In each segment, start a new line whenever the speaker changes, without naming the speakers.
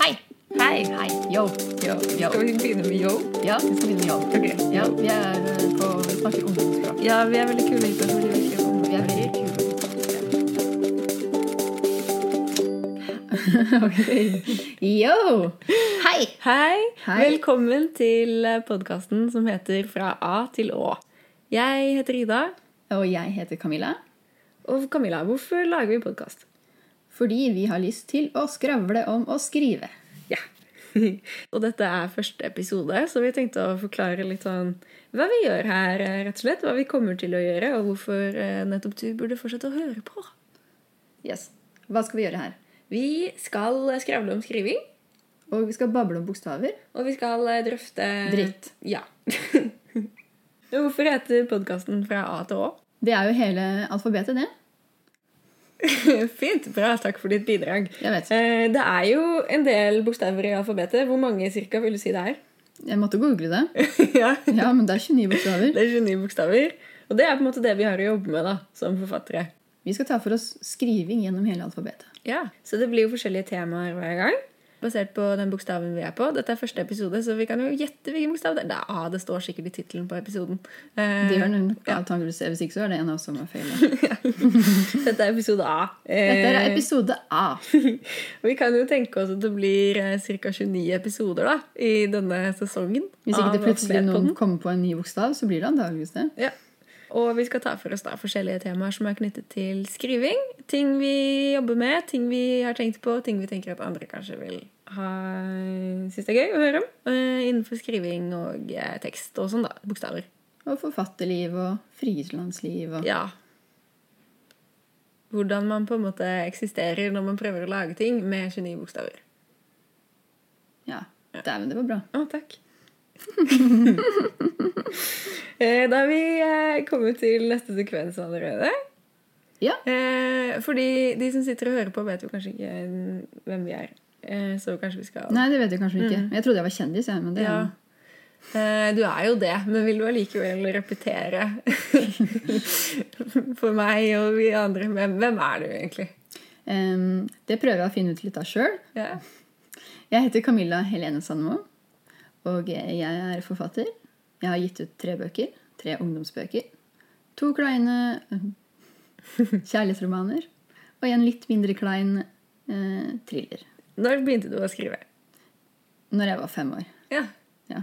Hei.
Hei.
Yo. Yo. Yo.
Skal vi begynne med yo?
Ja, vi skal begynne med yo.
Ok.
Ja, vi er eh, på vi snakker ungdomsspråk.
Ja, vi er veldig kule gutter. fordi Vi ikke
Vi er veldig kule. Ok. Yo! Hei!
Hei.
Hei.
Velkommen til podkasten som heter Fra A til Å. Jeg heter Ida.
Og jeg heter Camilla.
Og Camilla, hvorfor lager vi podkast?
Fordi vi har lyst til å skravle om å skrive.
Ja. og dette er første episode, så vi tenkte å forklare litt sånn hva vi gjør her, eh, rett og slett. Hva vi kommer til å gjøre, og hvorfor eh, nettopp du burde fortsette å høre på.
Yes. Hva skal vi gjøre her?
Vi skal eh, skravle om skriving.
Og vi skal bable om bokstaver.
Og vi skal eh, drøfte
Dritt.
Ja. Hvorfor heter podkasten Fra A til Å?
Det er jo hele alfabetet, det.
Fint. Bra. Takk for ditt bidrag.
Jeg vet.
Eh, Det er jo en del bokstaver i alfabetet. Hvor mange cirka vil du si det er?
Jeg måtte google det.
ja.
Ja, men det er 29 bokstaver.
Det er 29 bokstaver. Og det er på en måte det vi har å jobbe med da, som forfattere.
Vi skal ta for oss skriving gjennom hele alfabetet.
Ja. Så det blir jo forskjellige temaer hver gang. Basert på den bokstaven vi er på. Dette er første episode, så vi kan jo gjette hvilken bokstav det er. Da, ah, det står sikkert i tittelen på episoden. Eh,
Det gjør den antakeligvis. Hvis ikke så er det en av oss som har feil.
Dette er episode A.
Dette er
Eh,
episode A.
Og Vi kan jo tenke oss at det blir ca. 29 episoder da, i denne sesongen.
Hvis ikke det
av
plutselig noen
Alfabetpodden.
kommer på en ny bokstav, så blir det antakeligvis det.
Ja. Og vi skal ta for oss da forskjellige temaer som er knyttet til skriving. Ting vi jobber med, ting vi har tenkt på, ting vi tenker at andre kanskje vil ha synes det er gøy å høre om. eh, Innenfor skriving og eh, tekst og sånn, da. Bokstaver.
Og forfatterliv og frilandsliv og
Ja. Hvordan man på en måte eksisterer når man prøver å lage ting med 29 bokstaver.
Ja. Dæven, det var bra.
Å, takk. Eh, da er vi eh, kommet til neste sekvens allerede.
Ja.
Eh, Fordi de som sitter og hører på, vet jo kanskje ikke eh, hvem vi er. Eh, Så kanskje vi skal
Nei, det vet jeg kanskje ikke. Jeg trodde jeg var kjendis, jeg, men det
Ja. Eh, Du er jo det, men vil du allikevel repetere for meg og vi andre? Hvem, hvem er du egentlig?
Em, Det prøver jeg å finne ut litt av sjøl.
Ja.
Jeg heter Camilla Helene Sandmo, og jeg er forfatter. Jeg har gitt ut tre bøker. Tre ungdomsbøker. To kleine eh, kjærlighetsromaner. Og en litt mindre klein eh, thriller.
Når begynte du å skrive?
Når jeg var fem år.
Ja,
Ja,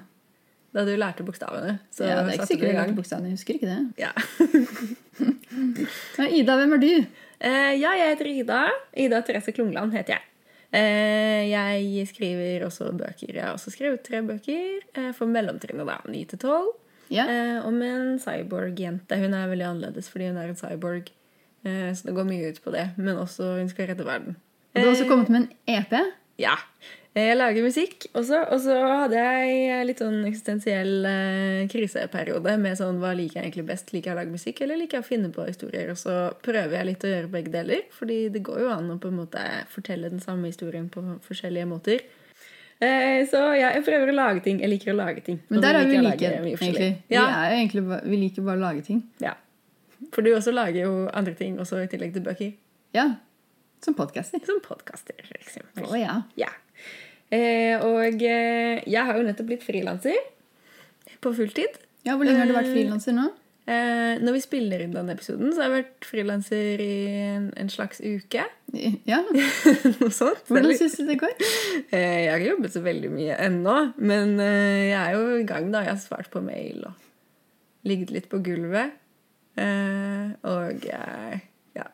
Da du lærte bokstavene? Så
ja Det er ikke
satte du
sikkert
i
jeg
gang.
lærte bokstavene. Jeg husker ikke det.
Ja.
Ja, Ida, hvem er du?
Eh, ja, jeg heter Ida. Ida Therese Klungland heter jeg. Eh, jeg skriver også bøker. Jeg har også skrevet tre bøker eh, for mellomtrinnet, da. 9 til 12.
Ja.
Eh, om en cyborg-jente. Hun er veldig annerledes fordi hun er en cyborg. Eh, så det går mye ut på det. Men også hun skal redde verden.
Du har
Eh,
også kommet med en E EP.
Ja. Jeg lager musikk også, og så hadde jeg litt sånn eksistensiell eh, kriseperiode med sånn hva liker jeg egentlig best? Liker jeg å lage musikk, eller liker jeg å finne på historier? Og så prøver jeg litt å gjøre begge deler, fordi det går jo an å på en måte fortelle den samme historien på forskjellige måter. Eh, så ja, jeg prøver å lage ting. Jeg liker å lage ting.
Men
og
der
så
er vi
liker jeg å
like,
lage mye forskjellig.
egentlig. Vi,
Ja,
er jo egentlig bare, vi liker bare å lage ting.
ja. For du også lager jo andre ting også i tillegg til bøker.
Ja. Som podcaster.
Som podkaster, for eksempel.
Å ja.
Ja. Eh, og eh, jeg har jo nettopp blitt frilanser på fulltid.
ja. Hvor lenge har du vært frilanser nå?
Eh, når vi spiller inn denne episoden, så har jeg vært frilanser i en, en slags uke.
Ja.
Noe sånt. Det er
Hvordan
litt-
syns du det går?
Eh, jeg har ikke jobbet så veldig mye ennå, men eh, jeg er jo i gang, da. Jeg har svart på mail og ligget litt på gulvet. Eh, og eh, ja.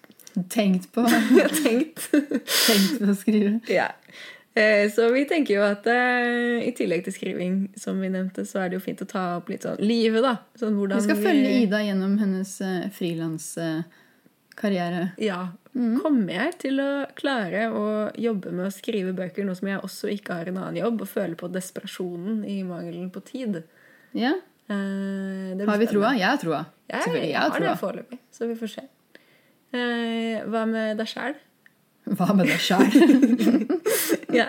Tenkt på,
Jeg har tenkt
tenkt på å skrive.
Ja. Eh, Så vi tenker jo at eh, i tillegg til skriving, som vi nevnte, så er det jo fint å ta opp litt sånn livet, da. Sånn hvordan
Vi skal følge Ida gjennom hennes uh, frilanskarriere.
Ja.
Mm.
Kommer jeg til å klare å jobbe med å skrive bøker, nå som jeg også ikke har en annen jobb, og føler på desperasjonen i mangelen på tid?
ja.
Eh, det blir
Har vi
spennende.
troa? Jeg har troa.
Jeg,
Selvfølgelig,
jeg
jeg
har det
har troa.
foreløpig, så vi får se. Eh, Hva med deg sjæl?
Hva med deg sjæl?
Ja.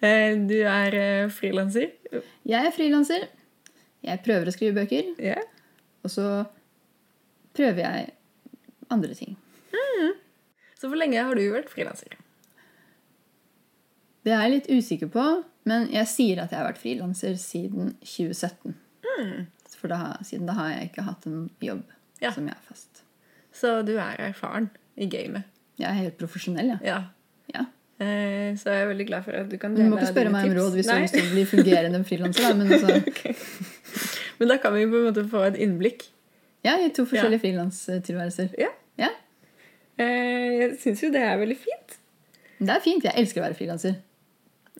Eh, Du er eh, frilanser.
Jeg er frilanser. Jeg prøver å skrive bøker.
Ja.
Og så prøver jeg andre ting.
Så hvor lenge har du vært frilanser?
Det er jeg litt usikker på, men jeg sier at jeg har vært frilanser siden 2017. For da, siden da har jeg ikke hatt en jobb
Hmm. Ja.
som jeg er fast.
Så du er erfaren i gamet.
Jeg er helt profesjonell, jeg.
Ja.
Ja.
Eh, Så jeg er veldig glad for at du kan
Du
dele
må ikke spørre
dine
meg om
tips.
råd hvis du har lyst
Nei,
til å bli fungerende frilanser, da, men altså
Men da kan vi på en måte få et innblikk.
Ja, i to forskjellige frilanstilværelser.
Ja.
Ja.
Eh, Jeg syns jo det er veldig fint.
Men Det er fint. Jeg elsker å være frilanser.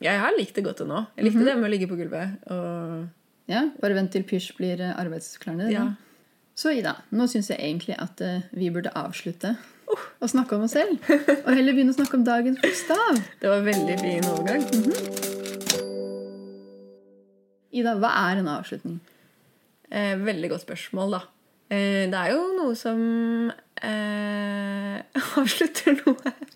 Jeg har likt det godt til nå. Jeg likte det med å ligge på gulvet og
Ja, bare vent til pysj blir eh, arbeidsklarende.
Ja.
da. Så Ida, nå syns jeg egentlig at eh, vi burde avslutte
Oh.
å snakke om oss selv. Og heller begynne å snakke om dagens bokstav.
Det var veldig fin overgang.
Ida, hva er en avslutning?
Eh, veldig godt spørsmål, da. Eh, det er jo noe som eh, avslutter noe her.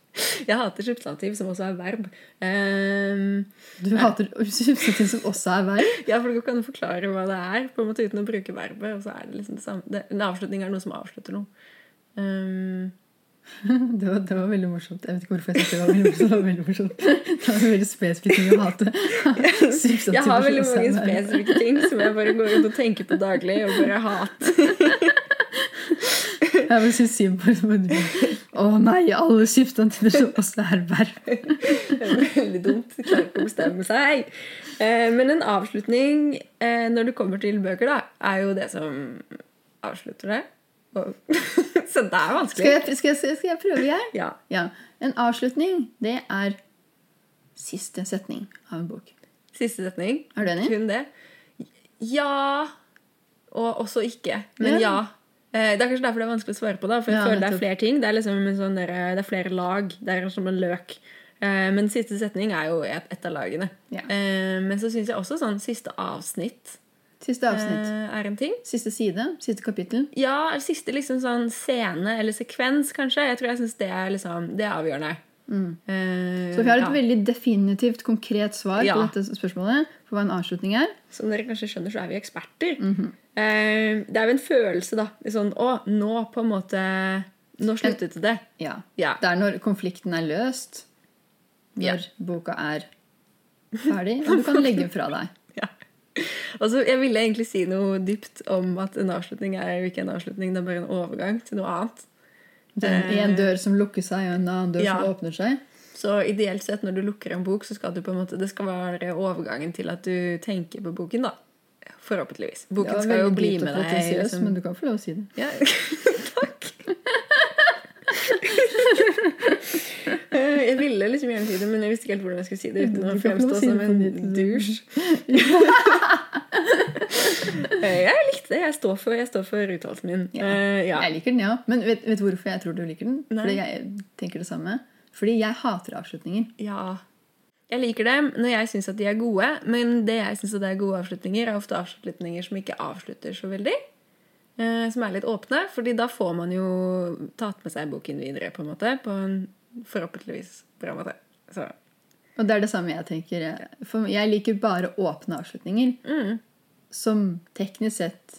Jeg hater substantiv, som også er verb. Eh,
Du hater substantiv som også er verv.
ja, for Du kan forklare hva det er på en måte uten å bruke verbet. og så er det liksom det samme. Det, en avslutning er noe som avslutter noe. Eh,
Det var, det var veldig morsomt. Jeg vet ikke hvorfor jeg syntes det var veldig morsomt. Det var veldig morsomt. Det var en veldig spesifikk ting å hate. Substantiv
jeg har veldig
som
mange
er verv.
spesifikke ting som jeg bare går rundt og tenker på daglig og bare hater.
Jeg bare synes synd på det. Å nei, alle substantiver som også er verv.
Veldig dumt. Klarer ikke å bestemme seg. Eh, men en avslutning eh, når du kommer til bøker, da, er jo det som avslutter det. Og Så det er
Skal
vanskelig.
jeg, skal, jeg, skal jeg prøve, jeg?
Ja.
Ja. En avslutning, det er siste setning av en bok.
Siste setning.
Er du enig?
Kun det. Ja Og også ikke. Men ja. Eh, Det er kanskje derfor det er vanskelig å svare på. da, For jeg
Ja,
føler det
nettopp.
er flere ting. Det er liksom en sånn der, det er flere lag. Det er som en løk. Eh, Men siste setning er jo et, et av lagene.
Ja.
Eh, Men så syns jeg også sånn siste avsnitt
Siste avsnitt.
eh, er en ting.
Siste side. Siste kapittel.
Ja, eller siste liksom sånn scene eller sekvens, kanskje. Jeg tror jeg syns det er liksom, det er avgjørende. Eh,
Så vi Mm. har et
ja.
veldig definitivt, konkret svar på
Ja.
dette spørsmålet på hva en avslutning er.
Som dere kanskje skjønner, så er vi eksperter.
Mhm.
Eh, det er jo en følelse, da. i Sånn Å, nå på en måte Nå sluttet det.
Ja.
Ja.
Det er når konflikten er løst, når
Ja.
boka er ferdig, og du kan legge den fra deg.
ja. Og så, Jeg ville egentlig si noe dypt om at en avslutning er jo ikke en avslutning, det er bare en overgang til noe annet.
Den, en dør som lukker seg, og en annen dør
Ja.
som åpner seg.
Så ideelt sett, når du lukker en bok, så skal du på en måte, det skal være overgangen til at du tenker på boken, da. Forhåpentligvis.
Det
Boken
var
skal jo
veldig
bli
dypt
med
og
deg.
potensiøst,
Liksom.
men du kan få lov å si det.
Ja. Takk. Eh, jeg ville liksom gjerne si det, men jeg visste ikke helt hvordan jeg skulle si det uten
Du
å
kan få lov å
fremstå
si det
som
på
en
nytt.
douche. Eh, jeg likte det. Jeg står for, jeg står for uttalelsen min.
Ja.
Eh, ja.
Jeg liker den, ja. Men vet, vet du hvorfor jeg tror du liker den?
Nei.
Fordi jeg tenker det samme. Fordi jeg hater avslutninger.
Ja. Jeg liker dem når jeg syns at de er gode, men det jeg syns er gode avslutninger, er ofte avslutninger som ikke avslutter så veldig. eh, Som er litt åpne, fordi da får man jo tatt med seg boken videre på en måte. På en forhåpentligvis bra måte. Så
Og det er det samme jeg tenker. For jeg liker bare åpne avslutninger.
Mm.
Som teknisk sett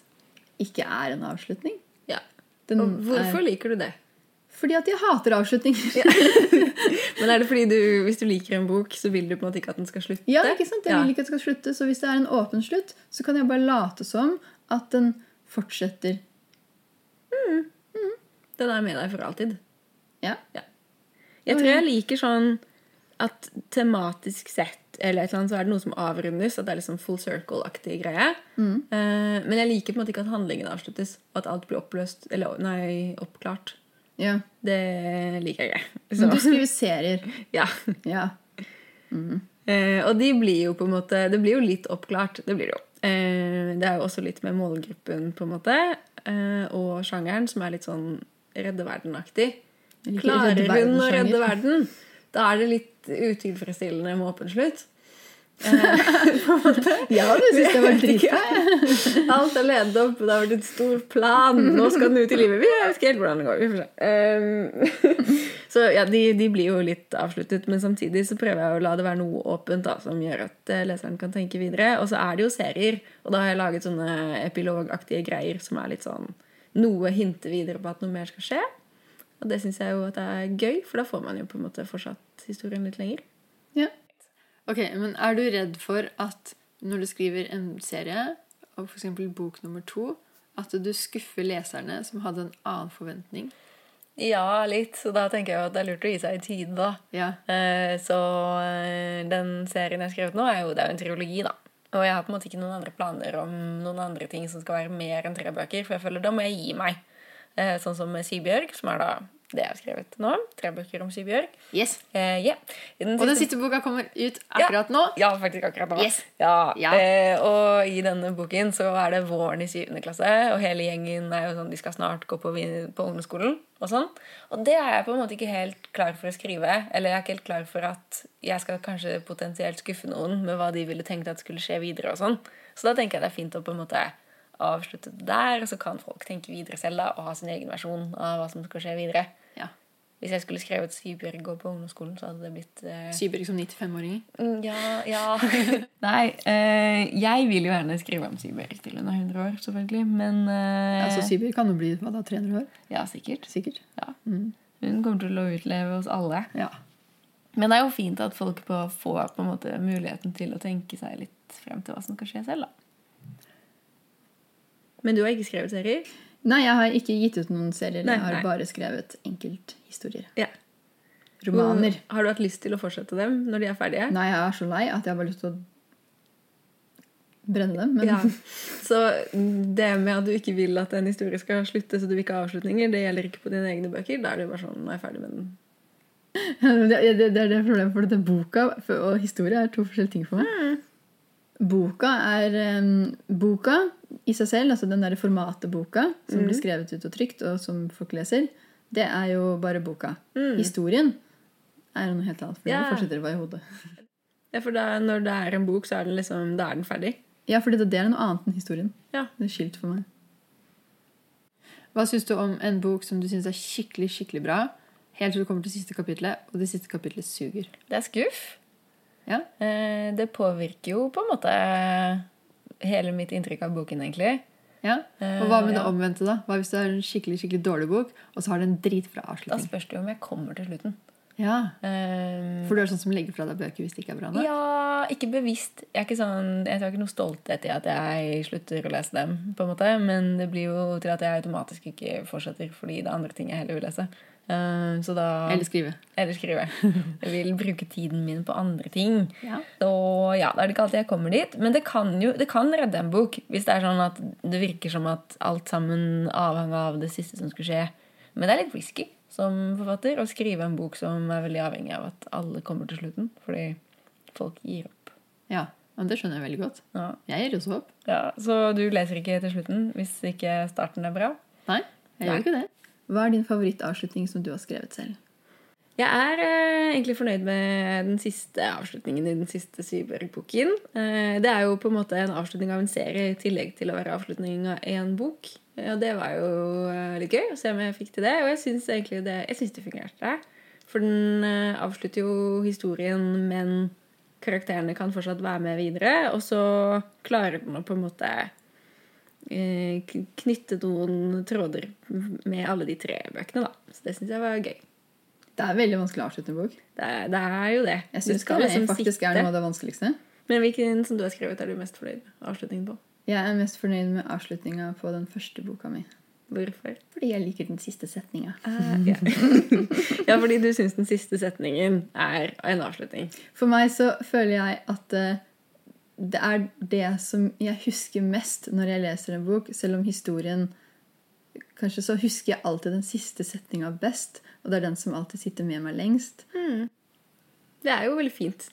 ikke er en avslutning.
ja.
Den
Og hvorfor
eh.
liker du det?
Fordi at jeg hater avslutninger. Ja,
Men er det fordi du, hvis du liker en bok, så vil du på en måte ikke at den skal slutte?
ikke sant? Jeg vil ikke at det skal slutte, så hvis det er en åpen slutt, så kan jeg bare late som at den fortsetter.
Den er med deg for alltid.
Ja.
Jeg tror jeg liker sånn at tematisk sett eller et eller annet, så er det noe som avrundes. At det er liksom full circle-aktig greie.
Mm.
Eh, men jeg liker på en måte ikke at handlingen avsluttes. Og at alt blir oppløst, eller nei, oppklart.
ja.
Det liker jeg. Så,
Men du skriver serier.
ja.
Ja.
Eh, og de blir jo på en måte Det blir jo litt oppklart. Det blir det jo. Eh, det er jo også litt med målgruppen, på en måte. Eh, og sjangeren, som er litt sånn redde verden-aktig.
Jeg liker
Klarer
redde
hun å
verden-sjanger.
redde verden? Da er det litt utilfredsstillende med åpen slutt.
Ja, du syns det var
Ikke?
dritbra.
Alt er ledet opp, det har vært en stor plan. Nå skal den ut i livet. Vi vet ikke helt hvordan det går. Vi får se. Um, så ja, de, de blir jo litt avsluttet, men samtidig så prøver jeg å la det være noe åpent da, som gjør at eh, leseren kan tenke videre. Og så er det jo serier, og da har jeg laget sånne epilogaktige greier som er litt sånn Noe hinter videre på at noe mer skal skje. Og det syns jeg jo at er gøy, for da får man jo på en måte fortsatt historien litt lenger.
Ja. Ok, men er du redd for at når du skriver en serie, og f.eks. bok nummer to, at du skuffer leserne som hadde en annen forventning?
Ja, litt. Så da tenker jeg jo at det er lurt å gi seg i tide, da.
Ja.
Eh, Så eh, den serien jeg har skrevet nå, er jo, det er jo en trilogi, da. Og jeg har på en måte ikke noen andre planer om noen andre ting som skal være mer enn tre bøker, for jeg føler da må jeg gi meg. Eh, Sånn som med Sybjørg, som er da det jeg har skrevet nå. Tre bøker om Sybjørg.
Yes.
Eh, ja. I den
Og den
siste-
siste boka kommer ut akkurat nå.
ja, faktisk akkurat nå.
Yes.
Ja.
Ja.
Eh, og i denne boken så er det våren i syvende klasse, og hele gjengen er jo sånn, de skal snart gå på, vi- på ungdomsskolen. Og sånn. Og det er jeg på en måte ikke helt klar for å skrive. Eller jeg er ikke helt klar for at jeg skal kanskje potensielt skuffe noen med hva de ville tenkt at skulle skje videre. og sånn. Så da tenker jeg det er fint å på en måte avslutte det der, og så kan folk tenke videre selv da, og ha sin egen versjon av hva som skal skje videre.
Ja.
Hvis jeg skulle skrevet Sybjørg går på ungdomsskolen, så hadde det blitt eh,
Syberg som 95-åringer.
Mm, Ja, ja. Nei, eh, jeg vil jo gjerne skrive om Sybjørg til hun er 100 år, selvfølgelig. Men eh,
Altså, Syberg kan jo bli hva da, 300 år?
Ja, sikkert.
Sikkert.
Ja. Hun kommer til å utleve oss alle.
Ja.
Men det er jo fint at folk på får på en måte muligheten til å tenke seg litt frem til hva som kan skje selv, da. Men du har ikke skrevet serier?
Nei, jeg har ikke gitt ut noen serier.
Nei,
jeg har
nei.
bare skrevet enkelthistorier.
Ja.
Romaner.
Har du hatt lyst til å fortsette dem når de er ferdige?
Nei, jeg er så lei at jeg har bare lyst til å brenne dem. Men
Ja. Så det med at du ikke vil at en historie skal slutte, så du vil ikke ha avslutninger, det gjelder ikke på dine egne bøker. Da er det bare sånn Nå er jeg ferdig med den.
det, det, det er det problemet, for den boka for- og historie er to forskjellige ting for meg. Boka er em, boka i seg selv, altså den derre formatet boka, som blir skrevet ut og trykt, og som folk leser, det er jo bare boka. Historien er jo noe helt annet, for
Ja.
det fortsetter å være i hodet.
Ja, for da, når det er en bok, så er den liksom Da er den ferdig.
Ja, fordi det, det er noe annet enn historien.
Ja.
Det er skilt for meg. Hva syns du om en bok som du syns er skikkelig skikkelig bra, helt til du kommer til siste kapitlet, og det siste kapitlet suger?
Det er skuff.
Ja?
Eh, det påvirker jo på en måte hele mitt inntrykk av boken, egentlig.
ja? Og hva med det
Eh, ja.
omvendte, da? Hva hvis det er en skikkelig skikkelig dårlig bok, og så har det en dritbra
Da
avslutning?
spørs det jo om jeg kommer til slutten.
Altså, Ja,
Eh,
For du er sånn som legger fra deg bøker hvis det ikke er bra nok?
ja, ikke bevisst. Jeg, er ikke sånn, jeg tar ikke noe stolthet i at jeg slutter å lese dem, på en måte. Men det blir jo til at jeg automatisk ikke fortsetter, fordi det er andre ting jeg heller vil lese. Eh, så da
Eller skrive?
Eller skrive. Jeg vil bruke tiden min på andre ting.
Ja.
Så ja, da er det ikke alltid jeg kommer dit. Men det kan jo det kan redde en bok hvis det er sånn at det virker som at alt sammen avhang av det siste som skulle skje. Men det er litt risky som forfatter å skrive en bok som er veldig avhengig av at alle kommer til slutten. Fordi folk gir opp.
Ja. Men det skjønner jeg veldig godt.
Ja.
Jeg gir også opp.
Ja, så du leser ikke til slutten hvis ikke starten er bra?
Nei, jeg
Nei.
gjør ikke det. Hva er din favorittavslutning som du har skrevet selv?
Jeg er eh, egentlig fornøyd med den siste avslutningen i den siste Syberg-boken. Eh, det er jo på en måte en avslutning av en serie i tillegg til å være avslutning av en bok. Eh, Og det var jo eh, litt gøy å se om jeg fikk til det, og jeg syns egentlig det, jeg syns det fungerte. For den eh, avslutter jo historien, men karakterene kan fortsatt være med videre. Og så klarer den å på en måte eh, k- knytte noen tråder med alle de tre bøkene, da. Så det syns jeg var gøy.
Det er veldig vanskelig å avslutte en bok.
Det er, det er jo det.
Jeg
Du
syns
skal
det
liksom
faktisk
sitte.
er noe av det vanskeligste.
Men hvilken som du har skrevet, er du mest fornøyd med avslutningen på?
Jeg er mest fornøyd med avslutninga på den første boka mi.
Hvorfor?
Fordi jeg liker den siste setninga.
ja. ja, fordi du syns den siste setningen er en avslutning.
For meg så føler jeg at eh, det er det som jeg husker mest når jeg leser en bok, selv om historien Kanskje så husker jeg alltid den siste setninga best, og det er den som alltid sitter med meg lengst.
Det er jo veldig fint.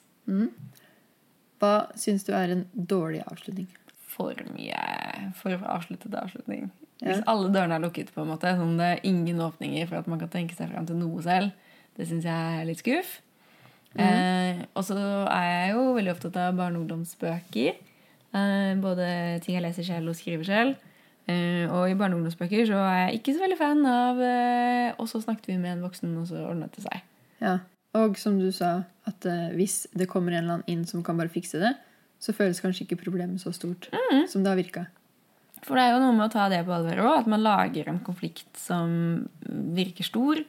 Hva syns du er en dårlig avslutning?
For mye for avsluttede avslutning.
Ja.
Hvis alle dørene er lukket, på en måte, sånn det er ingen åpninger for at man kan tenke seg fram til noe selv, det syns jeg er litt skuff. Eh, og så er jeg jo veldig opptatt av barne- og ungdomsbøker. Eh, både ting jeg leser selv og skriver selv. Eh, og i barne- og ungdomsbøker så er jeg ikke så veldig fan av eh, Og så snakket vi med en voksen, og så ordnet det seg.
Ja. Og som du sa, at eh, hvis det kommer en eller annen inn som kan bare fikse det, så føles kanskje ikke problemet så stort som det har virka.
For det er jo noe med å ta det på alvor òg, at man lager en konflikt som virker stor,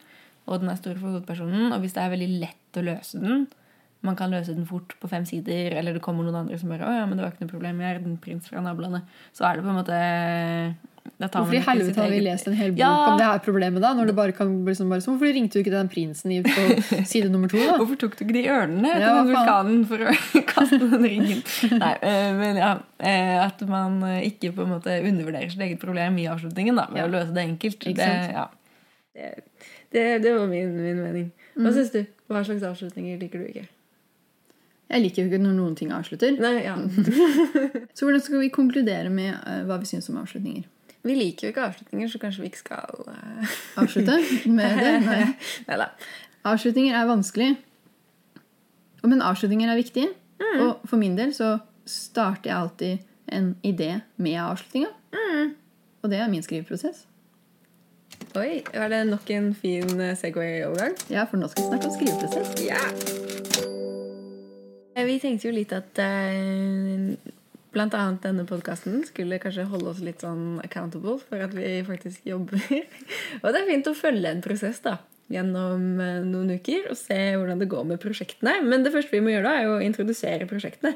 og den er stor for hovedpersonen, og hvis det er veldig lett å løse den, man kan løse den fort på fem sider, eller det kommer noen andre som bare 'Å ja, men det var ikke noe problem, jeg er en prins fra nabolandet', så er det på en måte da tar man
Hvorfor i
det til sitt
helvete har vi
eget-
lest en hel bok
Ja.
om det her problemet, da? Når det bare kan liksom bare, så Hvorfor ringte du ikke den prinsen i- på side nummer to, da?
Hvorfor tok du ikke de ørnene
Ja,
til
hva
den vulkanen for å kaste den ringen? Nei, eh, men ja, eh, At man eh, ikke på en måte undervurderer sitt eget problem i avslutningen da, ved
Ja.
å løse det enkelt.
Ikke
Det,
sant?
ja. det, var min, mening. Hva syns du? Hva slags avslutninger liker du ikke?
Jeg liker jo ikke når noen ting avslutter.
Nei, ja.
Så hvordan skal vi konkludere med eh, hva vi syns om avslutninger?
Vi liker jo ikke avslutninger, så kanskje vi ikke skal eh,
Avslutte med det? Nei.
Neida.
Avslutninger er vanskelig. Og- Men avslutninger er viktige.
Mm.
Og for min del så starter jeg alltid en idé med avslutninga.
Mm.
Og det er min skriveprosess.
Oi, var det nok en fin eh, Segway-overgang?
Ja, for nå skal vi snakke om skriveprosess.
Ja! Vi tenkte jo litt at eh, blant annet denne podkasten skulle kanskje holde oss litt sånn accountable for at vi faktisk jobber. Og det er fint å følge en prosess da, gjennom eh, noen uker og se hvordan det går med prosjektene. Men det første vi må gjøre da, er jo å introdusere prosjektene.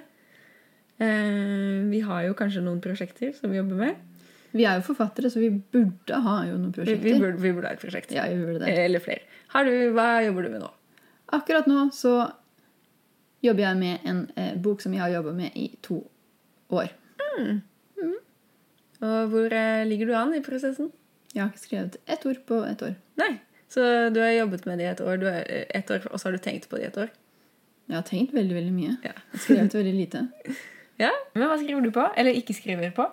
Eh, vi har jo kanskje noen prosjekter som vi jobber med.
Vi er jo forfattere, så vi burde ha jo noen
Vi,
prosjekter.
vi, burde, vi burde ha et prosjekt. Eh,
Ja, vi burde det.
Eller flere. Har du, hva jobber du med nå?
Akkurat nå så jobber jeg med en eh, bok som jeg har jobba med i to år.
Og hvor eh, ligger du an i prosessen?
Jeg har ikke skrevet ett ord på ett år.
Nei. Så du har jobbet med det i et år, du har, eh, et år og så har du tenkt på det i et år?
Jeg har tenkt veldig veldig mye.
Ja.
Jeg har Skrevet veldig lite.
Ja, Men hva skriver du på? Eller ikke skriver på?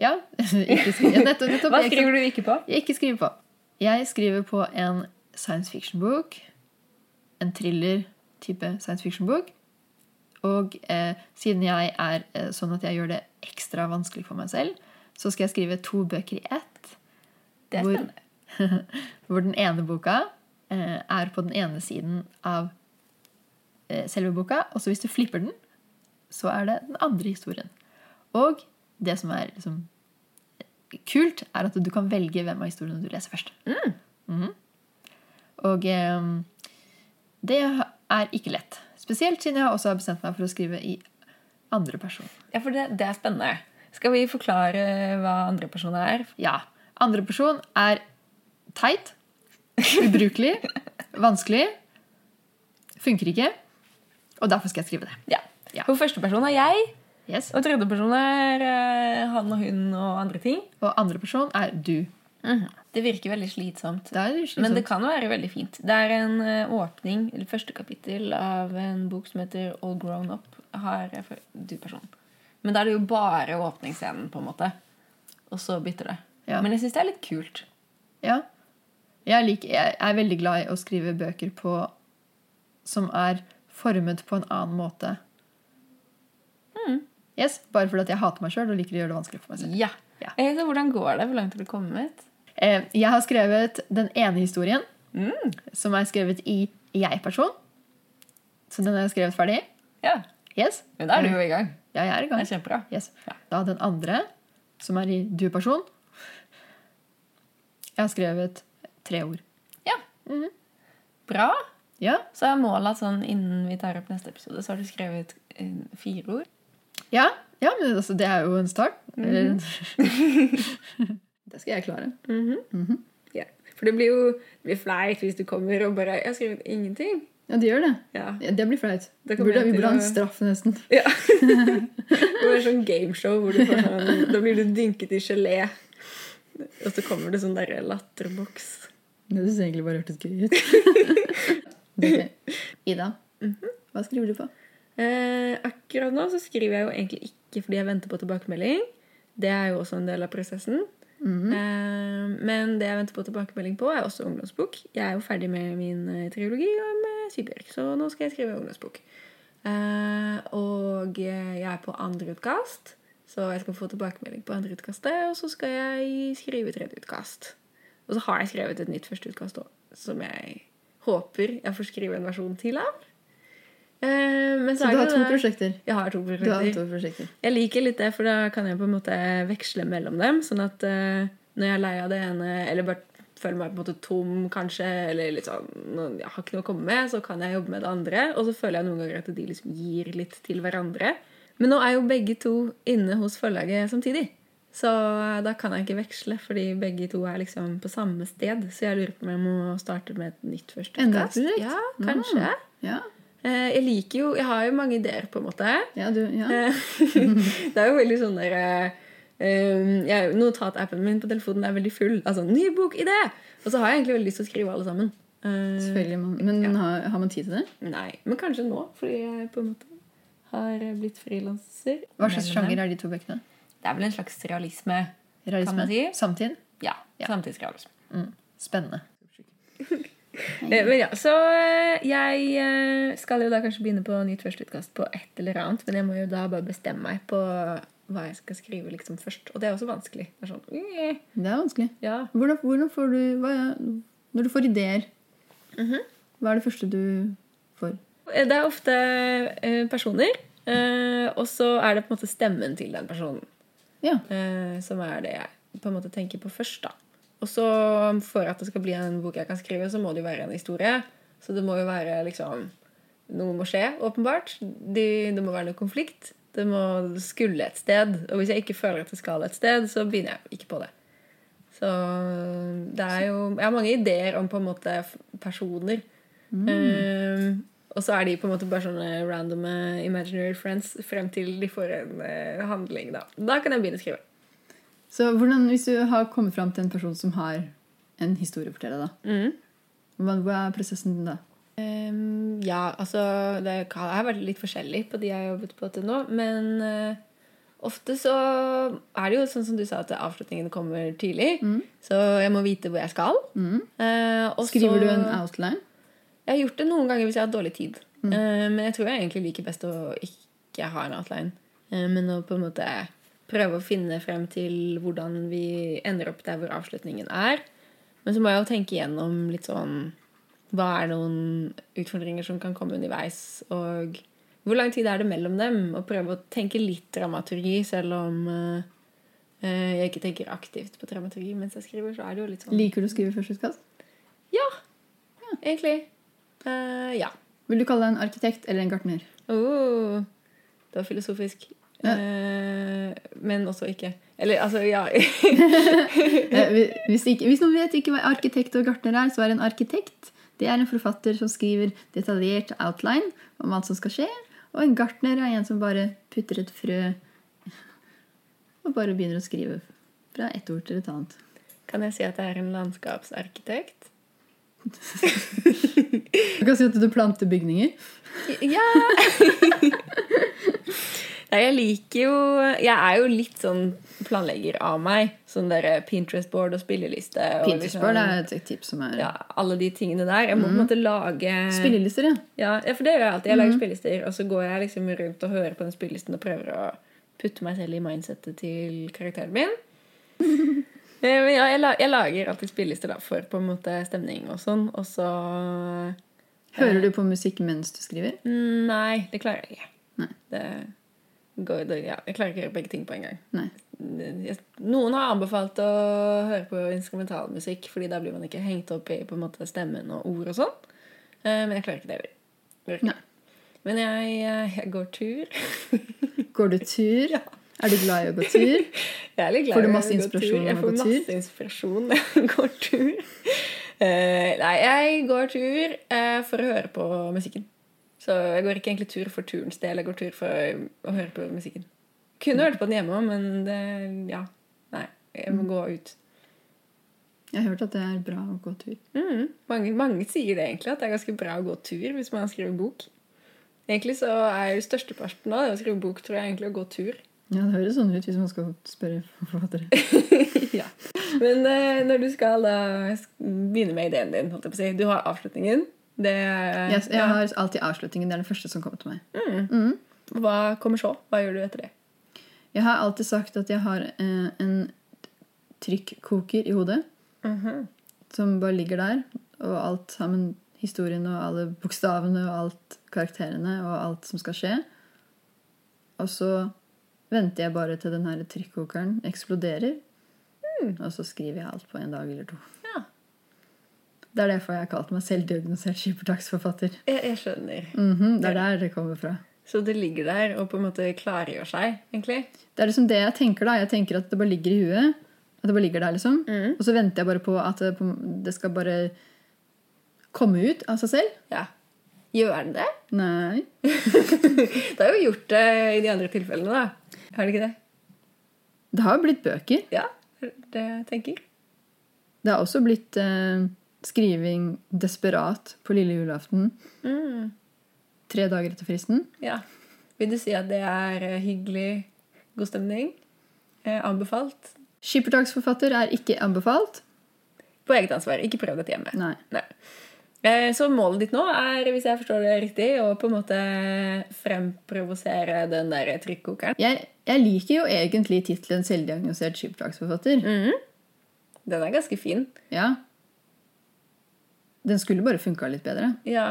Ja, ikke skrive. Nettopp, nettopp.
Hva
Jeg ikke-
skriver du ikke på?
Jeg ikke skriver på. Jeg skriver på en science fiction-bok. En thriller-type science fiction-bok. Og eh, siden jeg er eh, sånn at jeg gjør det ekstra vanskelig for meg selv, så skal jeg skrive to bøker i ett.
Det er
hvor,
spennende.
hvor den ene boka eh, er på den ene siden av eh, selve boka, og så hvis du flipper den, så er det den andre historien. Og det som er liksom, kult, er at du kan velge hvem av historiene du leser først. Mhm. Og eh, det er ikke lett. Spesielt siden jeg også har bestemt meg for å skrive i andre person.
Ja, for det, det er spennende. Skal vi forklare hva andreperson er?
Ja. Andre person er teit, ubrukelig, vanskelig, funker ikke. Og derfor skal jeg skrive det.
Ja.
Ja.
For førsteperson er jeg,
Yes.
og tredjeperson er eh, han og hun og andre ting.
Og andre person er du.
Det virker veldig slitsomt.
Det er liksom,
Men det kan være veldig fint. Det er en eh, åpning, eller første kapittel, av en bok som heter All Grown Up. Har eh, for- du person. Men da er det jo bare åpningsscenen, på en måte. Og så bytter det.
Ja.
Men jeg syns det er litt kult.
Ja. Jeg, liker, jeg er veldig glad i å skrive bøker på som er formet på en annen måte.
Mm.
Yes, Bare fordi at jeg hater meg sjøl og liker å gjøre det vanskelig for meg selv.
Ja.
Ja.
Eh, Så hvordan går det? Hvor langt har du kommet?
Eh, Jeg har skrevet den ene historien,
Mm.
som er skrevet i jeg-person. Så den har jeg skrevet ferdig.
Ja.
Yes.
Men da er du jo i gang.
Ja, jeg er i
Det
gang.
er kjempebra.
Yes.
Ja.
Da den andre, som er i du-person. Jeg har skrevet tre ord.
Ja. Bra.
Ja,
Så er målet at sånn innen vi tar opp neste episode, så har du skrevet eh, fire ord.
ja, ja men altså, det er jo en start.
Mhm.
Eller- det skal jeg klare.
Ja. For det blir jo det blir flaut hvis du kommer og bare 'Jeg har skrevet ingenting'.
Ja, det gjør det.
Ja.
Ja, Det blir flaut.
Det kommer
Burde-
jeg
Vi
til
burde ha en
å-
straff, nesten.
Ja. det var sånn gameshow hvor du får sånn, da blir du dynket i gelé. Og så kommer det sånn derre latterboks.
Det syns jeg egentlig bare hørtes gøy ut. Det er gøy. Ida,
Mhm.
hva skriver du på?
Eh, akkurat nå så skriver jeg jo egentlig ikke fordi jeg venter på tilbakemelding. Det er jo også en del av prosessen. Mhm.
Mm.
eh, men det jeg venter på tilbakemelding på, er også ungdomsbok. Jeg er jo ferdig med min eh, trilogi om eh, Sybjørk, så nå skal jeg skrive ungdomsbok. Eh, og eh, jeg er på andre utkast, så jeg skal få tilbakemelding på andre utkastet. Og så skal jeg skrive tredje utkast. Og så har jeg skrevet et nytt første utkast òg, som jeg håper jeg får skrive en versjon til av. Eh, men så,
Så
er
du har
det
to
det-
prosjekter?
Jeg har to
Du har
prosjekter.
to prosjekter.
Jeg liker litt det, for da kan jeg på en måte veksle mellom dem. Sånn at eh, når jeg er lei av det ene, eller bare føler meg på en måte tom, kanskje, eller litt sånn, nå- jeg har ikke noe å komme med, så kan jeg jobbe med det andre. Og så føler jeg noen ganger at de liksom gir litt til hverandre. Men nå er jo begge to inne hos forlaget samtidig. Så eh, da kan jeg ikke veksle, fordi begge to er liksom på samme sted. Så jeg lurer på om jeg må starte med et nytt
Enda et
førsteutkast.
prosjekt?
Ja, kanskje.
Mm. Ja.
Eh, Jeg liker jo Jeg har jo mange ideer, på en måte.
ja, du, ja.
Eh, det er jo veldig sånn der eh, jeg, Notatappen min på telefonen er veldig full. Altså, ny bokidé! Og så har jeg egentlig veldig lyst til å skrive alle sammen. Eh,
Selvfølgelig. Man, men har, har man tid til det?
nei, men kanskje nå, fordi jeg på en måte har blitt frilanser.
Hva slags sjanger er de to bøkene?
Det er vel en slags realisme. Kan
Realisme?
man si?
Samtid?
Ja. Samtidsrealisme.
Mm. Spennende.
Eh, Men ja, så eh, jeg eh, skal jo da kanskje begynne på nytt førsteutkast på et eller annet, men jeg må jo da bare bestemme meg på hva jeg skal skrive liksom først. Og det er også vanskelig. Det er sånn, eh,
Det er vanskelig.
ja.
Hvordan, hvordan får du hva, Når du får ideer, hva er det første du får?
Eh, Det er ofte eh, personer, eh, og så er det på en måte stemmen til den personen
Ja.
eh, som er det jeg på en måte tenker på først. da. Og så um, for at det skal bli en bok jeg kan skrive, så må det jo være en historie. Så det må jo være liksom Noe må skje, åpenbart. De, det må være noe konflikt. Det må skulle et sted. Og hvis jeg ikke føler at det skal et sted, så begynner jeg ikke på det. Så øh, det er jo Jeg har mange ideer om på en måte f- personer.
Mm.
Eh, og så er de på en måte bare sånne random eh, imaginary friends frem til de får en eh, handling, da. Da kan jeg begynne å skrive.
Så hvordan, Hvis du har kommet fram til en person som har en historie å fortelle, da, hva, hva er prosessen din da?
Ehm, ja, altså Det kan- har vært litt forskjellig på de jeg har jobbet på til nå. Men eh, ofte så er det jo sånn som du sa, at avslutningen kommer tidlig.
Mm.
Så jeg må vite hvor jeg skal. Eh, og
Skriver
så-
du en outline?
Jeg har gjort det noen ganger hvis jeg har hatt dårlig tid. Eh, men jeg tror jeg egentlig liker best å ikke ha en outline. Eh, men å på en måte prøve å finne frem til hvordan vi ender opp der hvor avslutningen er. Men så må jeg jo tenke igjennom litt sånn hva er noen utfordringer som kan komme underveis, og hvor lang tid er det mellom dem? Og prøve å tenke litt dramaturgi, selv om eh, eh, jeg ikke tenker aktivt på dramaturgi mens jeg skriver. så er det jo litt sånn...
Liker du å skrive førsteutkast?
Ja, egentlig. Eh, ja.
Vil du kalle deg en arkitekt eller en gartner?
Oh, det var filosofisk.
Ja.
Eh, men også ikke. Eller altså, ja.
Eh, hvi- Hvis, ikke, hvis noen vet ikke hva arkitekt og gartner er, så er en arkitekt det er en forfatter som skriver detaljert outline om alt som skal skje. Og en gartner er en som bare putter et frø og bare begynner å skrive fra ett ord til et annet.
kan jeg si at jeg er en landskapsarkitekt?
Du kan si at du planter bygninger.
Ja! Nei, jeg liker jo Jeg er jo litt sånn planlegger av meg. Sånn derre Pinterest-board og spilleliste. Og
Pinterest-board er et tips som er
liksom-
Mm.
ja, Alle de tingene der. Jeg må på en måte lage
Spillelister, ja.
ja, ja, for det gjør jeg alltid. Jeg lager spillelister, og så går jeg liksom rundt og hører på den spillelisten og prøver å putte meg selv i mindsettet til karakteren min. Eh, Men ja, jeg, la, jeg lager alltid spillelister da, for på en måte stemning og sånn, og så Eh. mm,
Hører du på musikk mens du skriver?
Nei, det klarer jeg ikke.
Nei.
Det går, det, ja, jeg klarer ikke å gjøre begge ting på en gang.
Nei.
Jeg- Noen har anbefalt å høre på instrumentalmusikk, fordi da blir man ikke hengt opp i på en måte, stemmen og ord og sånn. Eh, Men jeg klarer ikke det heller. Gjør ikke
Nei.
det. Men jeg, eh, jeg går tur.
Går du tur? Er du glad i å gå tur?
Jeg er litt glad
Får du
i å
masse
gå tur.
inspirasjon
Jeg
når du
får
går tur?
masse inspirasjon når jeg går tur. Eh, nei, jeg går tur eh, for å høre på musikken. Så jeg går ikke egentlig tur for turens del, jeg går tur for å høre på musikken. Kunne hørt på den hjemme òg, men det, ja. Nei, jeg
Mm.
må gå ut.
Jeg har hørt at det er bra å gå tur.
Mm. Mange, mange sier det egentlig, at det er ganske bra å gå tur hvis man skriver bok. Egentlig så er jo størsteparten av det å skrive bok, tror jeg, egentlig å gå tur.
Ja, Det høres sånn ut hvis man skal spørre forfattere.
ja. Men eh, når du skal da sk- begynne med ideen din, holdt jeg på å si Du har avslutningen. Det
Yes, jeg har alltid avslutningen. Det er den første som kommer til meg.
Mm. Hva kommer så? Hva gjør du etter det?
Jeg har alltid sagt at jeg har eh, en trykkoker i hodet som bare ligger der, og alt sammen historien og alle bokstavene og alt karakterene og alt som skal skje. Og så venter jeg bare til den her trykkokeren eksploderer, og så skriver jeg alt på en dag eller to.
Ja.
Det er derfor jeg har kalt meg selvdiagnosert skippertaksforfatter.
Jeg, jeg skjønner.
Mhm, det er der det kommer fra.
Så det ligger der og på en måte klargjør seg, egentlig.
Det er liksom det jeg tenker da. Jeg tenker at det bare ligger i huet. At det bare ligger der, liksom.
Mm.
Og så venter jeg bare på at det, på- det skal bare komme ut av seg selv.
Ja. Gjør den det?
Nei.
det har jo gjort det i de andre tilfellene, da. Har det ikke det?
Det har jo blitt bøker.
Ja, det jeg tenker
Det har også blitt eh, skriving desperat på lille julaften. Tre dager etter fristen.
Ja. Vil du si at det er eh, hyggelig, god stemning? Eh, anbefalt?
Skippertaksforfatter er ikke anbefalt.
På eget ansvar. Ikke prøv dette hjemme.
Nei.
Eh, så målet ditt nå er, hvis jeg forstår det riktig, å på en måte fremprovosere den der trykkokeren.
Jeg, jeg liker jo egentlig tittelen 'Selvdiagnosert skippertaksforfatter'.
Den er ganske fin.
Ja. Den skulle bare funka litt bedre.
Ja.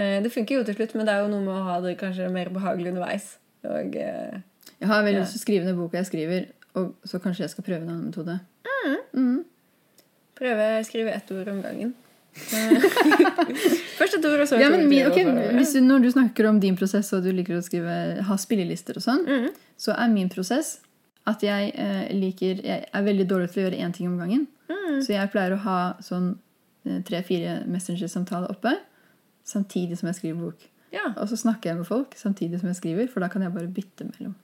Eh, det funker jo til slutt, men det er jo noe med å ha det kanskje mer behagelig underveis. Og eh,
Jeg har veldig lyst til å skrive ned boka jeg skriver, og så kanskje jeg skal prøve en annen metode.
prøve å skrive ett ord om gangen. Eh, Først et ord, og så et
Ja, men
ord.
min,
til, og
ok,
så-
hvis du, Når du snakker om din prosess, og du liker å skrive, ha spillelister og sånn, så er min prosess at jeg eh, liker Jeg er veldig dårlig til å gjøre én ting om gangen. Så jeg pleier å ha sånn eh, tre-fire Messenger-samtaler oppe samtidig som jeg skriver bok.
ja.
Og så snakker jeg med folk samtidig som jeg skriver, for da kan jeg bare bytte mellom.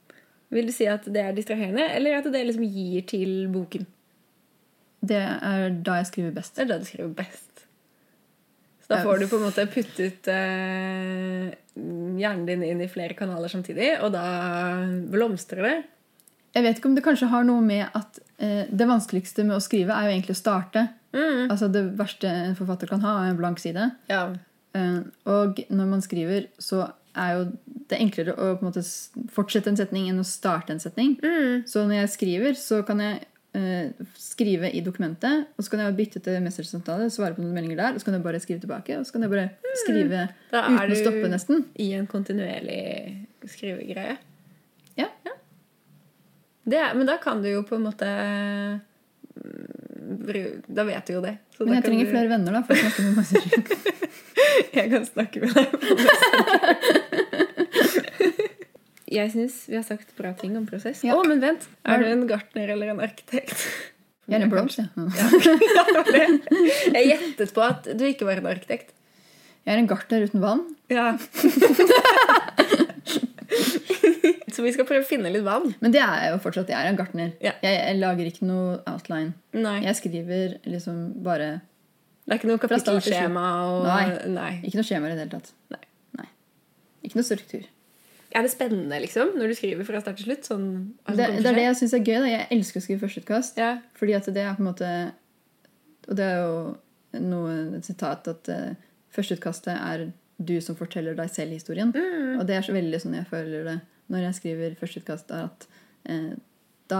Vil du si at det er distraherende, eller at det liksom gir til boken?
Det er da jeg skriver best.
Det er da du skriver best. Så da
Ja.
får du på en måte puttet eh, hjernen din inn i flere kanaler samtidig, og da blomstrer det.
Jeg vet ikke om det kanskje har noe med at eh, det vanskeligste med å skrive er jo egentlig å starte.
Mm.
Altså Det verste en forfatter kan ha, er en blank side.
Ja.
Eh, og når man skriver, så er jo det enklere å på en måte s- fortsette en setning enn å starte en setning.
Mm.
Så når jeg skriver, så kan jeg eh, skrive i dokumentet, og så kan jeg bytte til messengersamtale, svare på noen meldinger der, og så kan jeg bare skrive tilbake, og så kan jeg bare skrive
Mm. Da er
uten
du-
å stoppe, nesten.
I en kontinuerlig skrivegreie.
Ja.
Det er, men da kan du jo på en måte mm, bru- Da vet du jo det. Så da
Men jeg
kan
trenger
du-
flere venner da, for å snakke med Messenger.
Jeg kan snakke med deg på Messenger. Jeg syns vi har sagt bra ting om prosess. Å,
Ja.
men vent! Er du en gartner eller en arkitekt?
Jeg er en blomst, jeg.
Ja, det var det. Jeg gjettet på at du ikke var en arkitekt.
Jeg er en gartner uten vann.
Ja. Så vi skal prøve å finne litt vann.
Men det er jeg jo fortsatt. Jeg er en gartner.
Ja.
Jeg, jeg lager ikke noe outline.
Nei.
Jeg skriver liksom bare
Det er ikke noe
Fra start til slutt.
kapittelskjema og
Nei.
Nei.
Ikke noe skjemaer i det hele tatt.
Nei.
Nei. Ikke noe struktur.
Er det spennende, liksom? Når du skriver fra start til slutt? Sånn, hva som
Det,
kommer
det
til å
er det
skje?
jeg syns er gøy. Da. Jeg elsker å skrive førsteutkast.
Ja.
Fordi at det er på en måte Og det er jo noe, et sitat at eh, førsteutkastet er du som forteller deg selv historien.
Mm.
Og det er så veldig sånn jeg føler det når jeg skriver førsteutkast, er at eh, da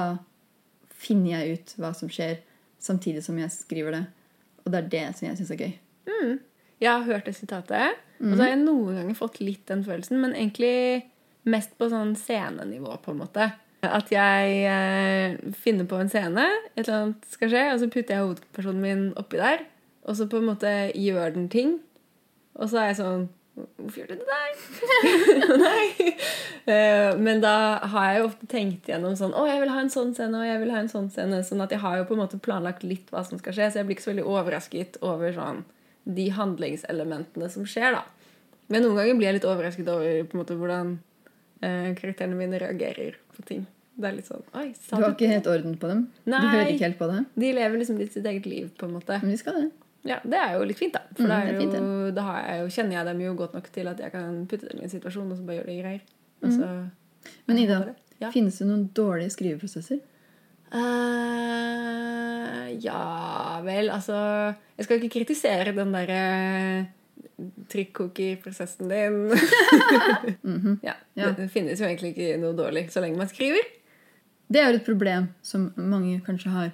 finner jeg ut hva som skjer, samtidig som jeg skriver det. Og det er det som jeg syns er gøy.
Jeg har hørt det sitatet, og så har jeg noen ganger fått litt den følelsen, men egentlig mest på sånn scenenivå, på en måte. At jeg eh, finner på en scene, et eller annet skal skje, og så putter jeg hovedpersonen min oppi der, og så på en måte gjør den ting. Og så er jeg sånn Hvorfor gjør du det der? Nei. Eh, Men da har jeg jo ofte tenkt gjennom sånn Å, jeg vil ha en sånn scene, og jeg vil ha en sånn scene. Sånn at jeg har jo på en måte planlagt litt hva som skal skje, så jeg blir ikke så veldig overrasket over sånn de handlingselementene som skjer, da. Men noen ganger blir jeg litt overrasket over på en måte hvordan eh, karakterene mine reagerer på ting. Det er litt sånn Oi,
Du
sa
har
du
ikke helt orden på dem. Du
Nei.
hører ikke helt på det.
De lever liksom litt sitt eget liv, på en måte.
Men de skal det.
Ja, Det er jo litt fint, da. For
Mm, det
da, er
er fint,
jo, da har jeg jo, kjenner jeg dem jo godt nok til at jeg kan putte dem i en situasjon, og så bare gjør de greier. Altså- Og så,
Men Ida,
Ja.
finnes det noen dårlige skriveprosesser?
Eh, ja vel, altså Jeg skal ikke kritisere den derre trykkokerprosessen din. Mm-hmm. ja,
Ja.
Det finnes jo egentlig ikke noe dårlig så lenge man skriver.
Det er jo et problem som mange kanskje har.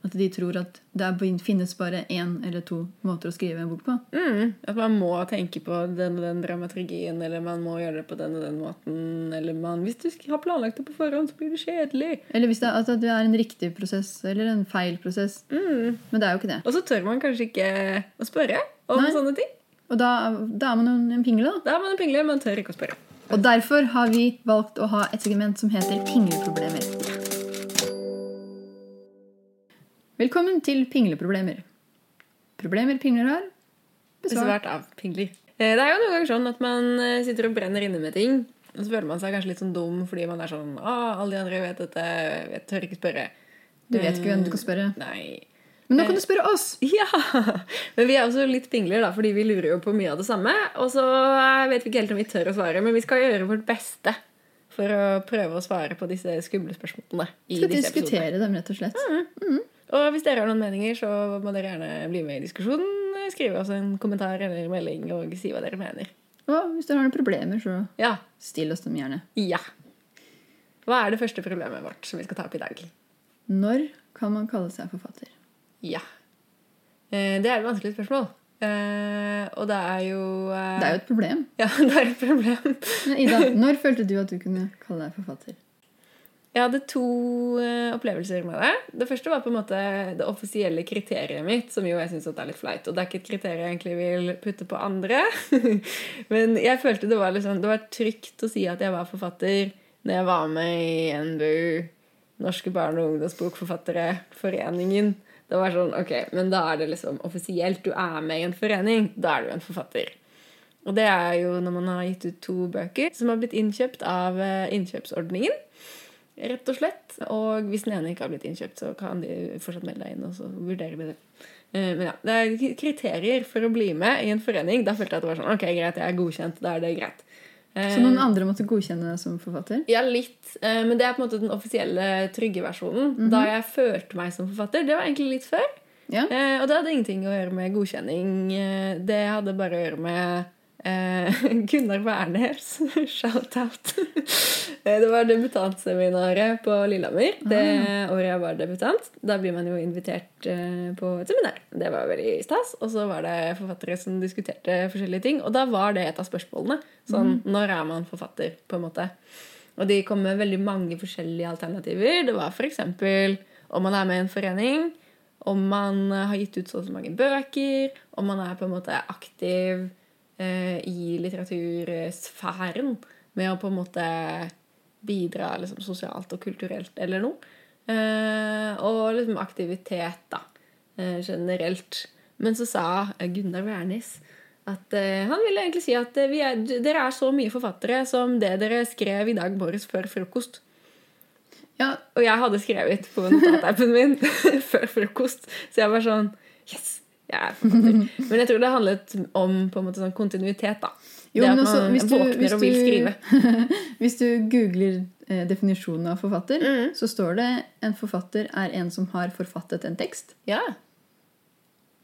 At de tror at det er- finnes bare én eller to måter å skrive en bok på.
Mm, at man må tenke på den og den dramaturgien, eller man må gjøre det på den og den måten. Eller man, hvis du sk- har planlagt det på forhånd, så blir det kjedelig.
Eller hvis det er, altså, at det er en riktig prosess eller en feil prosess.
Mm.
Men det er jo ikke det.
Og så tør man kanskje ikke å spørre om
Nei.
sånne ting.
Og da, da er man jo en pingle, da.
Da er man en pingle, man tør ikke å spørre.
Og derfor har vi valgt å ha et segment som heter Pingleproblemer. Velkommen til Pingleproblemer. Problemer pingler har. Besvart.
Besvart av pingler. Eh, Det er jo noen ganger sånn at man eh, sitter og brenner inne med ting, og så føler man seg kanskje litt sånn dum fordi man er sånn Å, alle de andre vet dette, jeg tør ikke spørre.
Du vet ikke hvem du skal spørre.
Nei.
Men nå kan
Eh,
du spørre oss!
Ja! Men vi er også litt pingler, da, fordi vi lurer jo på mye av det samme. Og så eh, vet vi ikke helt om vi tør å svare, men vi skal gjøre vårt beste for å prøve å svare på disse skumle spørsmålene. i
Vi skal
disse episodene.
diskutere dem, rett og slett.
Og hvis dere har noen meninger, så må dere gjerne bli med i diskusjonen. Skrive oss en kommentar eller melding og si hva dere mener.
Og hvis dere har noen problemer, så
Ja.
still oss dem gjerne.
Ja. Hva er det første problemet vårt som vi skal ta opp i dag?
Når kan man kalle seg forfatter?
Ja. Eh, Det er et vanskelig spørsmål. Eh, Og det er jo eh,
Det er jo et problem.
Ja, det er et problem.
Men Ida, når følte du at du kunne kalle deg forfatter?
Jeg hadde to eh, opplevelser med det. Det første var på en måte det offisielle kriteriet mitt, som jo jeg syns er litt flaut. Og det er ikke et kriterium jeg egentlig vil putte på andre. Men jeg følte det var, liksom, det var trygt å si at jeg var forfatter når jeg var med i NBU, Norske barne- og ungdomsbokforfattere-foreningen. Det var sånn, ok, Men da er det liksom offisielt. Du er med i en forening. Da er du en forfatter. Og det er jo når man har gitt ut to bøker som har blitt innkjøpt av eh, innkjøpsordningen rett og slett. Og hvis den ene ikke har blitt innkjøpt, så kan de fortsatt melde deg inn. og så vurderer vi det. Eh, Men ja, det er kriterier for å bli med i en forening. Da følte jeg at det var sånn, ok, greit, jeg er godkjent, da er det greit. Eh,
Så noen andre måtte godkjenne deg som forfatter?
Ja, litt. Eh, Men det er på en måte den offisielle, trygge versjonen. Da jeg følte meg som forfatter, det var egentlig litt før.
Ja.
Eh, og det hadde ingenting å gjøre med godkjenning. Eh, Det hadde bare å gjøre med eh, Gunnar Wærnes. Shout-out. Eh, det var debutantseminaret på Lillehammer det året Eh, jeg var debutant. Da blir man jo invitert eh, på et seminar. Det var veldig stas. Og så var det forfattere som diskuterte forskjellige ting. Og da var det et av spørsmålene. Sånn, når er man forfatter, på en måte? Og de kom med veldig mange forskjellige alternativer. Det var f.eks. om man er med i en forening, om man har gitt ut så og så mange bøker, om man er på en måte aktiv eh, i litteratursfæren med å på en måte bidra liksom, sosialt og kulturelt eller noe. Eh, og liksom aktivitet, da, eh, generelt. Men så sa eh, Gunnar Wærnes at eh, han ville egentlig si at eh, vi er, d- dere er så mye forfattere som det dere skrev i dag morges før frokost.
Ja,
Og jeg hadde skrevet på notatappen min før frokost, så jeg var sånn Yes! Jeg er forfatter. Men jeg tror det handlet om på en måte sånn kontinuitet, da.
Jo,
det
men
at
også,
man
hvis du,
våkner
hvis
og vil skrive.
du, hvis du googler eh, definisjonen av forfatter,
Mm.
så står det en forfatter er en som har forfattet en tekst.
Ja.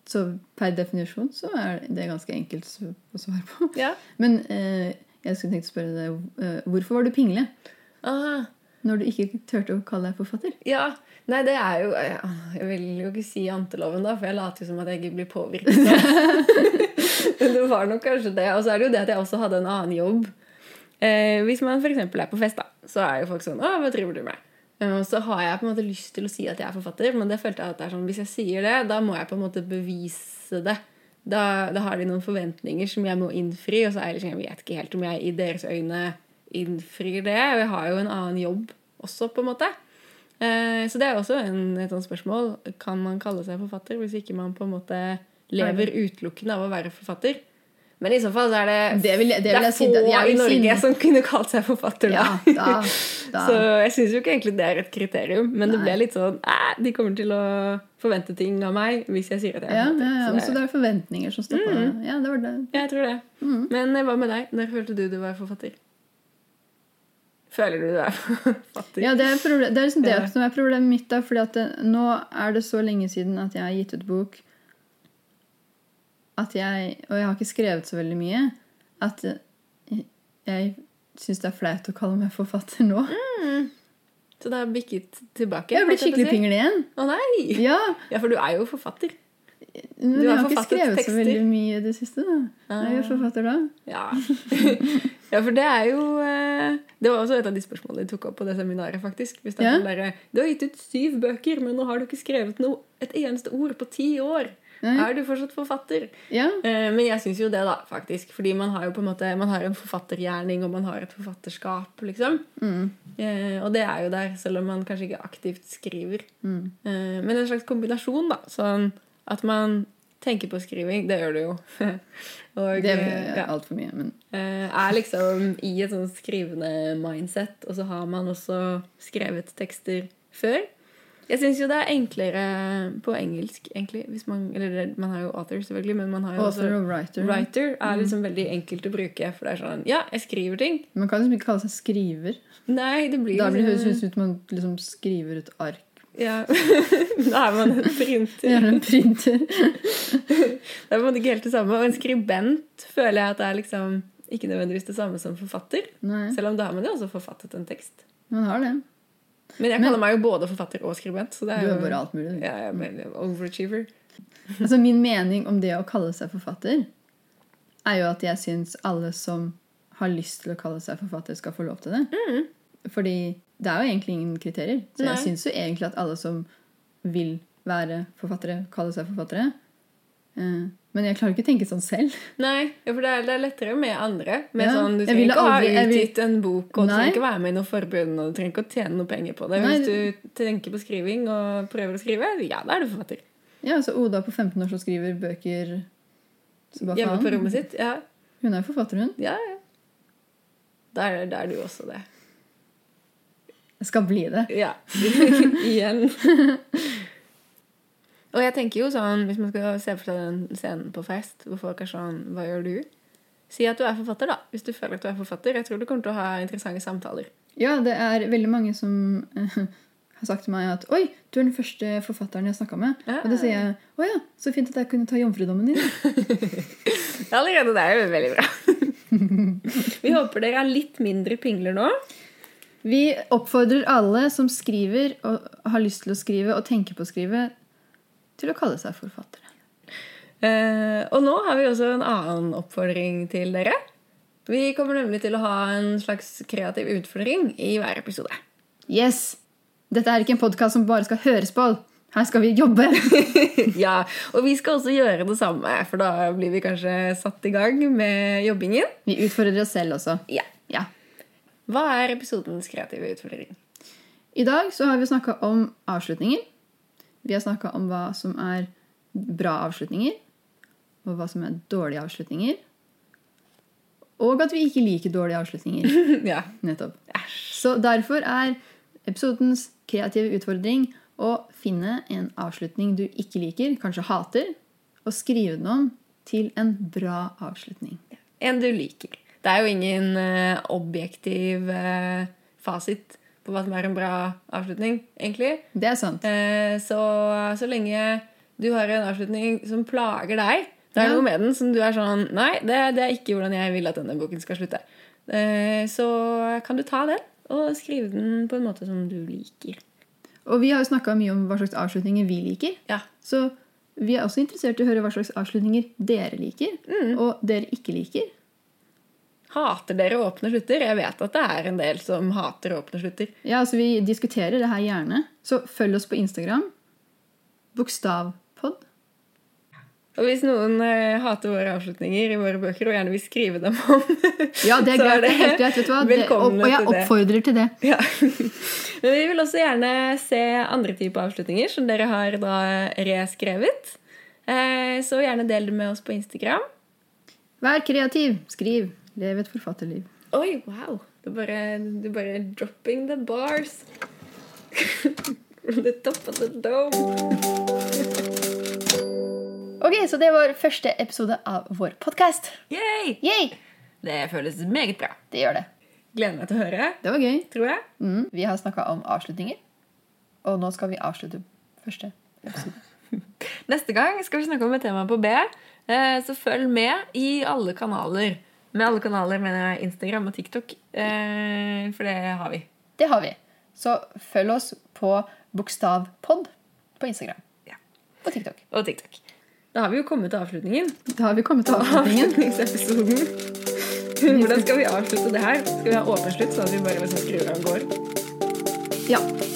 Så per definisjon så er det ganske enkelt s- å svare på.
ja.
Men eh, jeg skulle tenkt å spørre deg, eh, hvorfor var du pingle
Ah.
når du ikke turte å kalle deg forfatter?
Ja, nei, det er jo Jeg, jeg vil jo ikke si janteloven, da, for jeg later jo som at jeg ikke blir påvirket. Men det var nok kanskje det. Og så er det jo det at jeg også hadde en annen jobb. Eh, hvis man f.eks. er på fest, da, så er jo folk sånn 'Å, hva driver du med?' Eh, Og så har jeg på en måte lyst til å si at jeg er forfatter, men det følte jeg at det er sånn, hvis jeg sier det, da må jeg på en måte bevise det. Da, da har de noen forventninger som jeg må innfri, og så er jeg liksom, jeg vet ikke helt om jeg i deres øyne innfrir det. Og jeg har jo en annen jobb også, på en måte. Eh, Så det er også en, et sånt spørsmål. Kan man kalle seg forfatter hvis ikke man på en måte lever utelukkende av å være forfatter? Men i så fall så er det,
Det vil jeg- det vil jeg
er
si-
få
det- jeg
i
vil si-
Norge som kunne kalt seg forfatter da.
Ja, da, da.
Så jeg syns jo ikke egentlig det er et kriterium, men det ble litt sånn eh, De kommer til å forvente ting av meg hvis jeg sier at jeg er Mm.
Ja, ja, ja.
forfatter.
Så det er forventninger som står på. Ja, det var det.
det, jeg tror det.
Mm.
Men eh, hva med deg? Når følte du du var forfatter? Føler du du er forfatter?
Ja, det er, proble- det er liksom det
Ja.
som er problemet mitt. da, fordi at det, Nå er det så lenge siden at jeg har gitt ut bok, at jeg, og jeg har ikke skrevet så veldig mye, at eh,
Mm,
jeg syns det er flaut å kalle meg forfatter nå.
Så det har bikket tilbake?
Jeg blir
holdt på å
skikkelig
si.
pingel igjen.
Å nei!
Ja,
Ja, for du er jo forfatter.
men
Du
jeg
har
har ikke
forfattet
skrevet så
tekster.
veldig mye i det siste. da.
Ah.
Jeg er forfatter da.
Ja. ja, for det er jo eh, Det var også et av de spørsmålene de tok opp på det seminaret, faktisk. Hvis det er
Ja.
sånn derre, du har gitt ut syv bøker, men nå har du ikke skrevet noe, et eneste ord på ti år.
Nei.
Er du fortsatt forfatter?
Ja.
Eh, Men jeg syns jo det, da, faktisk. Fordi man har jo på en måte Man har en forfattergjerning, og man har et forfatterskap, liksom.
Mm.
Eh, Og det er jo der, selv om man kanskje ikke aktivt skriver.
Mm.
Eh, Men en slags kombinasjon, da. Sånn at man tenker på skriving. Det gjør du jo. og
Det
eh,
er
ja,
altfor mye, men
eh, er liksom i et sånn skrivende mindset, og så har man også skrevet tekster før. Jeg syns jo det er enklere på engelsk, egentlig. Hvis man, eller det- man har jo author, selvfølgelig, men man har jo også
Author og writer. Mm.
Writer er liksom veldig enkelt å bruke, for det er sånn Ja, jeg skriver ting.
Man kan liksom ikke kalle seg skriver.
Nei, det blir
Da blir det
liksom-
høres ut som man liksom skriver ut ark.
ja. Da er man en printer.
Gjerne en printer.
Det er på en måte ikke helt det samme. Og en skribent føler jeg at det er liksom ikke nødvendigvis det samme som forfatter.
Nei,
Selv om da har man jo også forfattet en tekst.
man har det.
Men jeg
Men-
kaller meg jo både forfatter og skribent, så det
Du
er jo
er bare alt mulig. du.
ja, jeg mener, overachiever.
Altså, min mening om det å kalle seg forfatter er jo at jeg syns alle som har lyst til å kalle seg forfatter, skal få lov til det. Fordi det er jo egentlig ingen kriterier. Så
Mm. Nei.
jeg syns jo egentlig at alle som vil være forfattere, kalle seg forfattere. Eh, Men jeg klarer ikke å tenke sånn selv.
Nei, ja, for det er, det er lettere med andre. Med
Ja.
sånn, du
Jeg
trenger
ville
ikke å ha
aldri- jeg vil-
utgitt en bok, og du
Nei.
trenger ikke være med i noe forbund, og du trenger ikke å tjene noe penger på det.
Nei,
Hvis du tenker på skriving og prøver å skrive, ja, da er du forfatter.
Ja, altså Oda på 15 år som skriver bøker så bare
Hjemme på
faen.
rommet sitt. Ja,
Hun er jo forfatter, hun.
ja, ja. Da er, da er du også det.
Jeg skal bli det.
Ja. Igjen. Og jeg tenker jo sånn, hvis man skal se for seg den scenen på fest, hvor folk er sånn Hva gjør du? Si at du er forfatter, da. Hvis du føler at du er forfatter. Jeg tror du kommer til å ha interessante samtaler.
Ja, det er veldig mange som eh, har sagt til meg at Oi, du er den første forfatteren jeg snakka med.
Ja.
Og da sier jeg Å ja, så fint at jeg kunne ta jomfrudommen din.
Allerede det er jo veldig bra. Vi håper dere er litt mindre pingler nå.
Vi oppfordrer alle som skriver og har lyst til å skrive og tenker på å skrive, til å kalle seg forfattere.
Eh, og nå har vi også en annen oppfordring til dere. Vi kommer nemlig til å ha en slags kreativ utfordring i hver episode.
Yes! Dette er ikke en podkast som bare skal høres på. Her skal vi jobbe!
ja, Og vi skal også gjøre det samme, for da blir vi kanskje satt i gang med jobbingen.
Vi utfordrer oss selv også.
Ja.
Ja.
Hva er episodens kreative utfordring?
I dag så har vi snakka om avslutninger. Vi har snakka om hva som er bra avslutninger, og hva som er dårlige avslutninger. Og at vi ikke liker dårlige avslutninger.
ja.
Nettopp. Så derfor er episodens kreative utfordring å finne en avslutning du ikke liker, kanskje hater, og skrive den om til en bra avslutning.
En du liker. Det er jo ingen eh, objektiv eh, fasit på hva som er en bra avslutning, egentlig.
Det er sant.
Eh, så så lenge du har en avslutning som plager deg, det er
Ja.
noe med den som du er sånn Nei, det, det er ikke hvordan jeg vil at denne boken skal slutte. Eh, så kan du ta den og skrive den på en måte som du liker.
Og vi har jo snakka mye om hva slags avslutninger vi liker.
Ja.
Så vi er også interessert i å høre hva slags avslutninger dere liker,
Mm.
og dere ikke liker.
Hater dere åpne slutter? Jeg vet at det er en del som hater åpne slutter.
Ja, altså Vi diskuterer det her gjerne. Så følg oss på Instagram. Bokstavpod.
Og hvis noen eh, hater våre avslutninger i våre bøker og gjerne vil skrive dem om
Ja, det er
så
greit. Det er helt greit, vet du hva? Det, og,
Velkommen
og jeg
til det.
oppfordrer til det.
Ja. Men vi vil også gjerne se andre typer avslutninger som dere har da reskrevet. Eh, Så gjerne del det med oss på Instagram.
Vær kreativ. Skriv. Lev et forfatterliv.
Oi, wow! Du bare, du bare dropping the bars. From the top of the dome.
Ok, Så det var første episode av vår podkast.
Yay!
Yay!
Det føles meget bra.
Det gjør det.
Gleder meg til å høre,
Det var gøy.
tror jeg.
Mm, vi har snakka om avslutninger, og nå skal vi avslutte første episode.
Neste gang skal vi snakke om et tema på B, eh, så følg med i alle kanaler. Med alle kanaler mener jeg Instagram og TikTok, eh, for det har vi.
Det har vi. Så følg oss på Bokstavpod på Instagram
Ja.
og TikTok.
Og TikTok. Da har vi jo kommet til avslutningen.
Da har vi kommet til avslutningen.
Avslutningsepisoden. Hvordan skal vi avslutte det her? Skal vi ha åpen slutt, sånn at vi bare liksom skrur av og går?
Ja.